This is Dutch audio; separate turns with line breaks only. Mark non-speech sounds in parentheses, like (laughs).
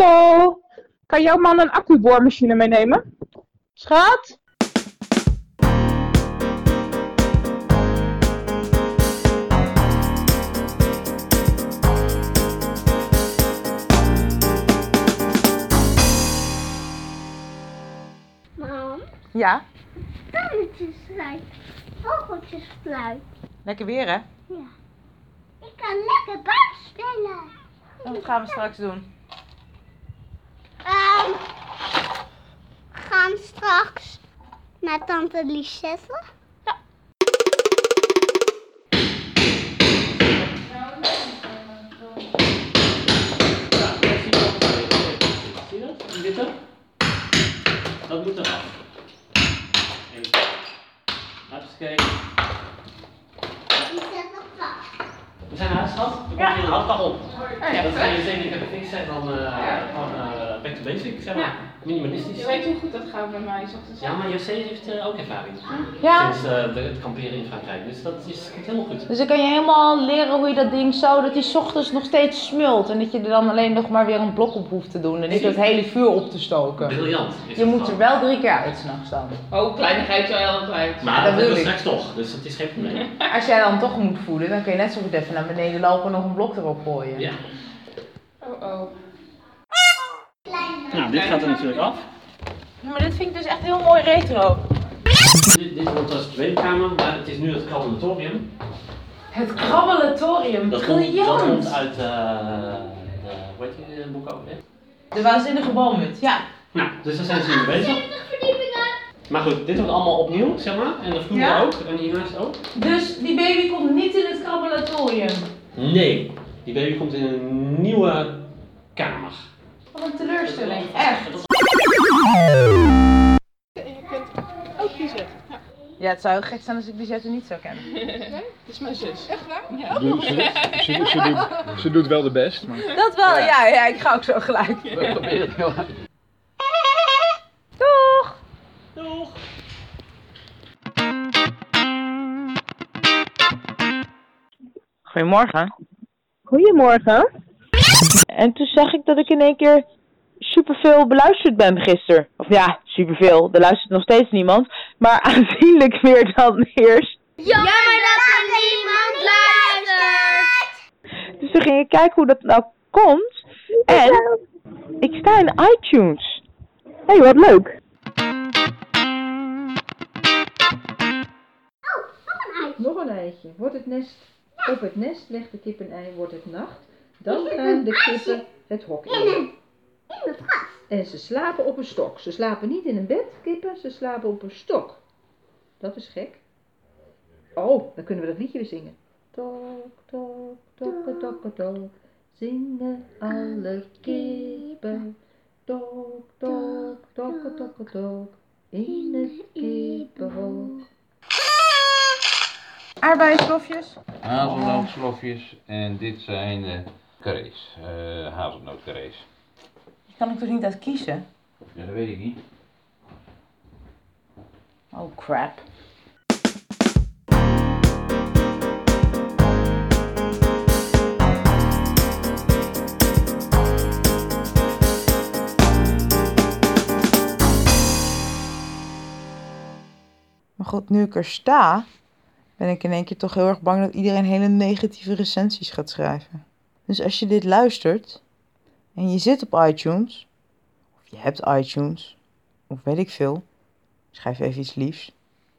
Hallo, kan jouw man een accuboormachine meenemen? Schat?
Mam,
Ja,
tunnetjes fluit, vogeltjes fluit.
lekker weer hè?
Ja. Ik kan lekker buiten spelen.
Dat gaan we straks doen.
Ehm, gaan straks naar tante Lisette.
Ja, dat zie je ook. Zie je dat? Een witte? Dat moet eraf. En hartstikke.
Lisette vast.
We zijn naar schat. Er komt hier een handbag op. dat ga je zeker kunnen fixen en dan eh, gewoon eh, back to basic, zeg maar.
Ja.
Minimalistisch.
Je weet hoe goed dat gaat bij mij, s ochtends.
Ja, maar José heeft eh, ook ervaring.
Ja,
Sinds eh, de- het kamperen in Frankrijk. Dus dat is komt helemaal goed.
dus dan kan je helemaal leren hoe je dat ding zo, dat die 's ochtends nog steeds smult. En dat je er dan alleen nog maar weer een blok op hoeft te doen. En niet dat hele vuur op te stoken.
Briljant. is
Je
het
moet er
gewoon.
wel drie keer uit s'nachts dan.
Oh, kleinigheid wel altijd. uit.
Maar
dat
dat doen we
bedoel ik.
straks toch, dus dat is geen probleem.
Als jij dan toch moet voelen, dan kun je net zo goed even naar beneden lopen en nog een blok erop gooien.
Ja.
Oh, oh.
Nou, dit gaat er natuurlijk af.
Maar dit vind ik dus echt heel mooi retro.
Dit, dit wordt als tweekamer, maar het is nu het krabbenatorium.
Het krabbelatorium,
Dat komt, dat komt
briljant!
uit eh de, hoe heet die eh, boek ook weer?
De waanzinnige boomhut, ja.
Nou, dus daar zijn ze nu mee bezig.
70 verdiepingen.
Maar goed, dit wordt allemaal opnieuw, zeg maar. En de vloer
Ja.
ook, en hiernaast ook.
Dus die baby komt niet in het krabbelatorium.
Nee, die baby komt in een nieuwe kamer.
Wat een teleurstelling, echt.
Je kunt ook kiezen.
Ja, het zou heel gek zijn als ik die zetten niet zou kennen.
Dat is mijn zus. Echt waar?
Doe- Ze, ze- ze doet, ze doet wel de best, maar
Dat wel, ja, ja, ik ga ook zo gelijk.
we proberen het heel hard.
Doeg!
Doeg!
Goedemorgen.
Goedemorgen.
En toen zag ik dat ik in één keer superveel beluisterd ben gisteren. Of ja, superveel. Er luistert nog steeds niemand. Maar (laughs) aanzienlijk meer dan eerst.
Jammer dat er niemand luistert.
Dus toen ging ik kijken hoe dat nou komt. En ik sta in iTunes.
Hé, hey, wat leuk.
Oh, nog een eitje.
Nog een eitje. Wordt het nest op het nest, legt de kip een ei, wordt het nacht. Dan gaan de kippen het hok
In
in.
een, in het gas.
En ze slapen op een stok. Ze slapen niet in een bed, kippen, ze slapen op een stok. Dat is gek. Oh, dan kunnen we dat liedje weer zingen. Tok, tok, tokke, tokke, tok. Zingen alle kippen. Tok, tok, tokke, tokke, tok. In het kippenhok.
Aardbeienstofjes.
Hazelnootslofjes en dit zijn eh carrés, eh hazelnootcarrés.
Kan ik er niet uit kiezen?
Ja, dat weet ik niet.
Oh crap. Maar goed, nu ik er sta, ben ik in één keer toch heel erg bang dat iedereen hele negatieve recensies gaat schrijven. Dus als je dit luistert en je zit op iTunes, of je hebt iTunes, of weet ik veel, schrijf even iets liefs.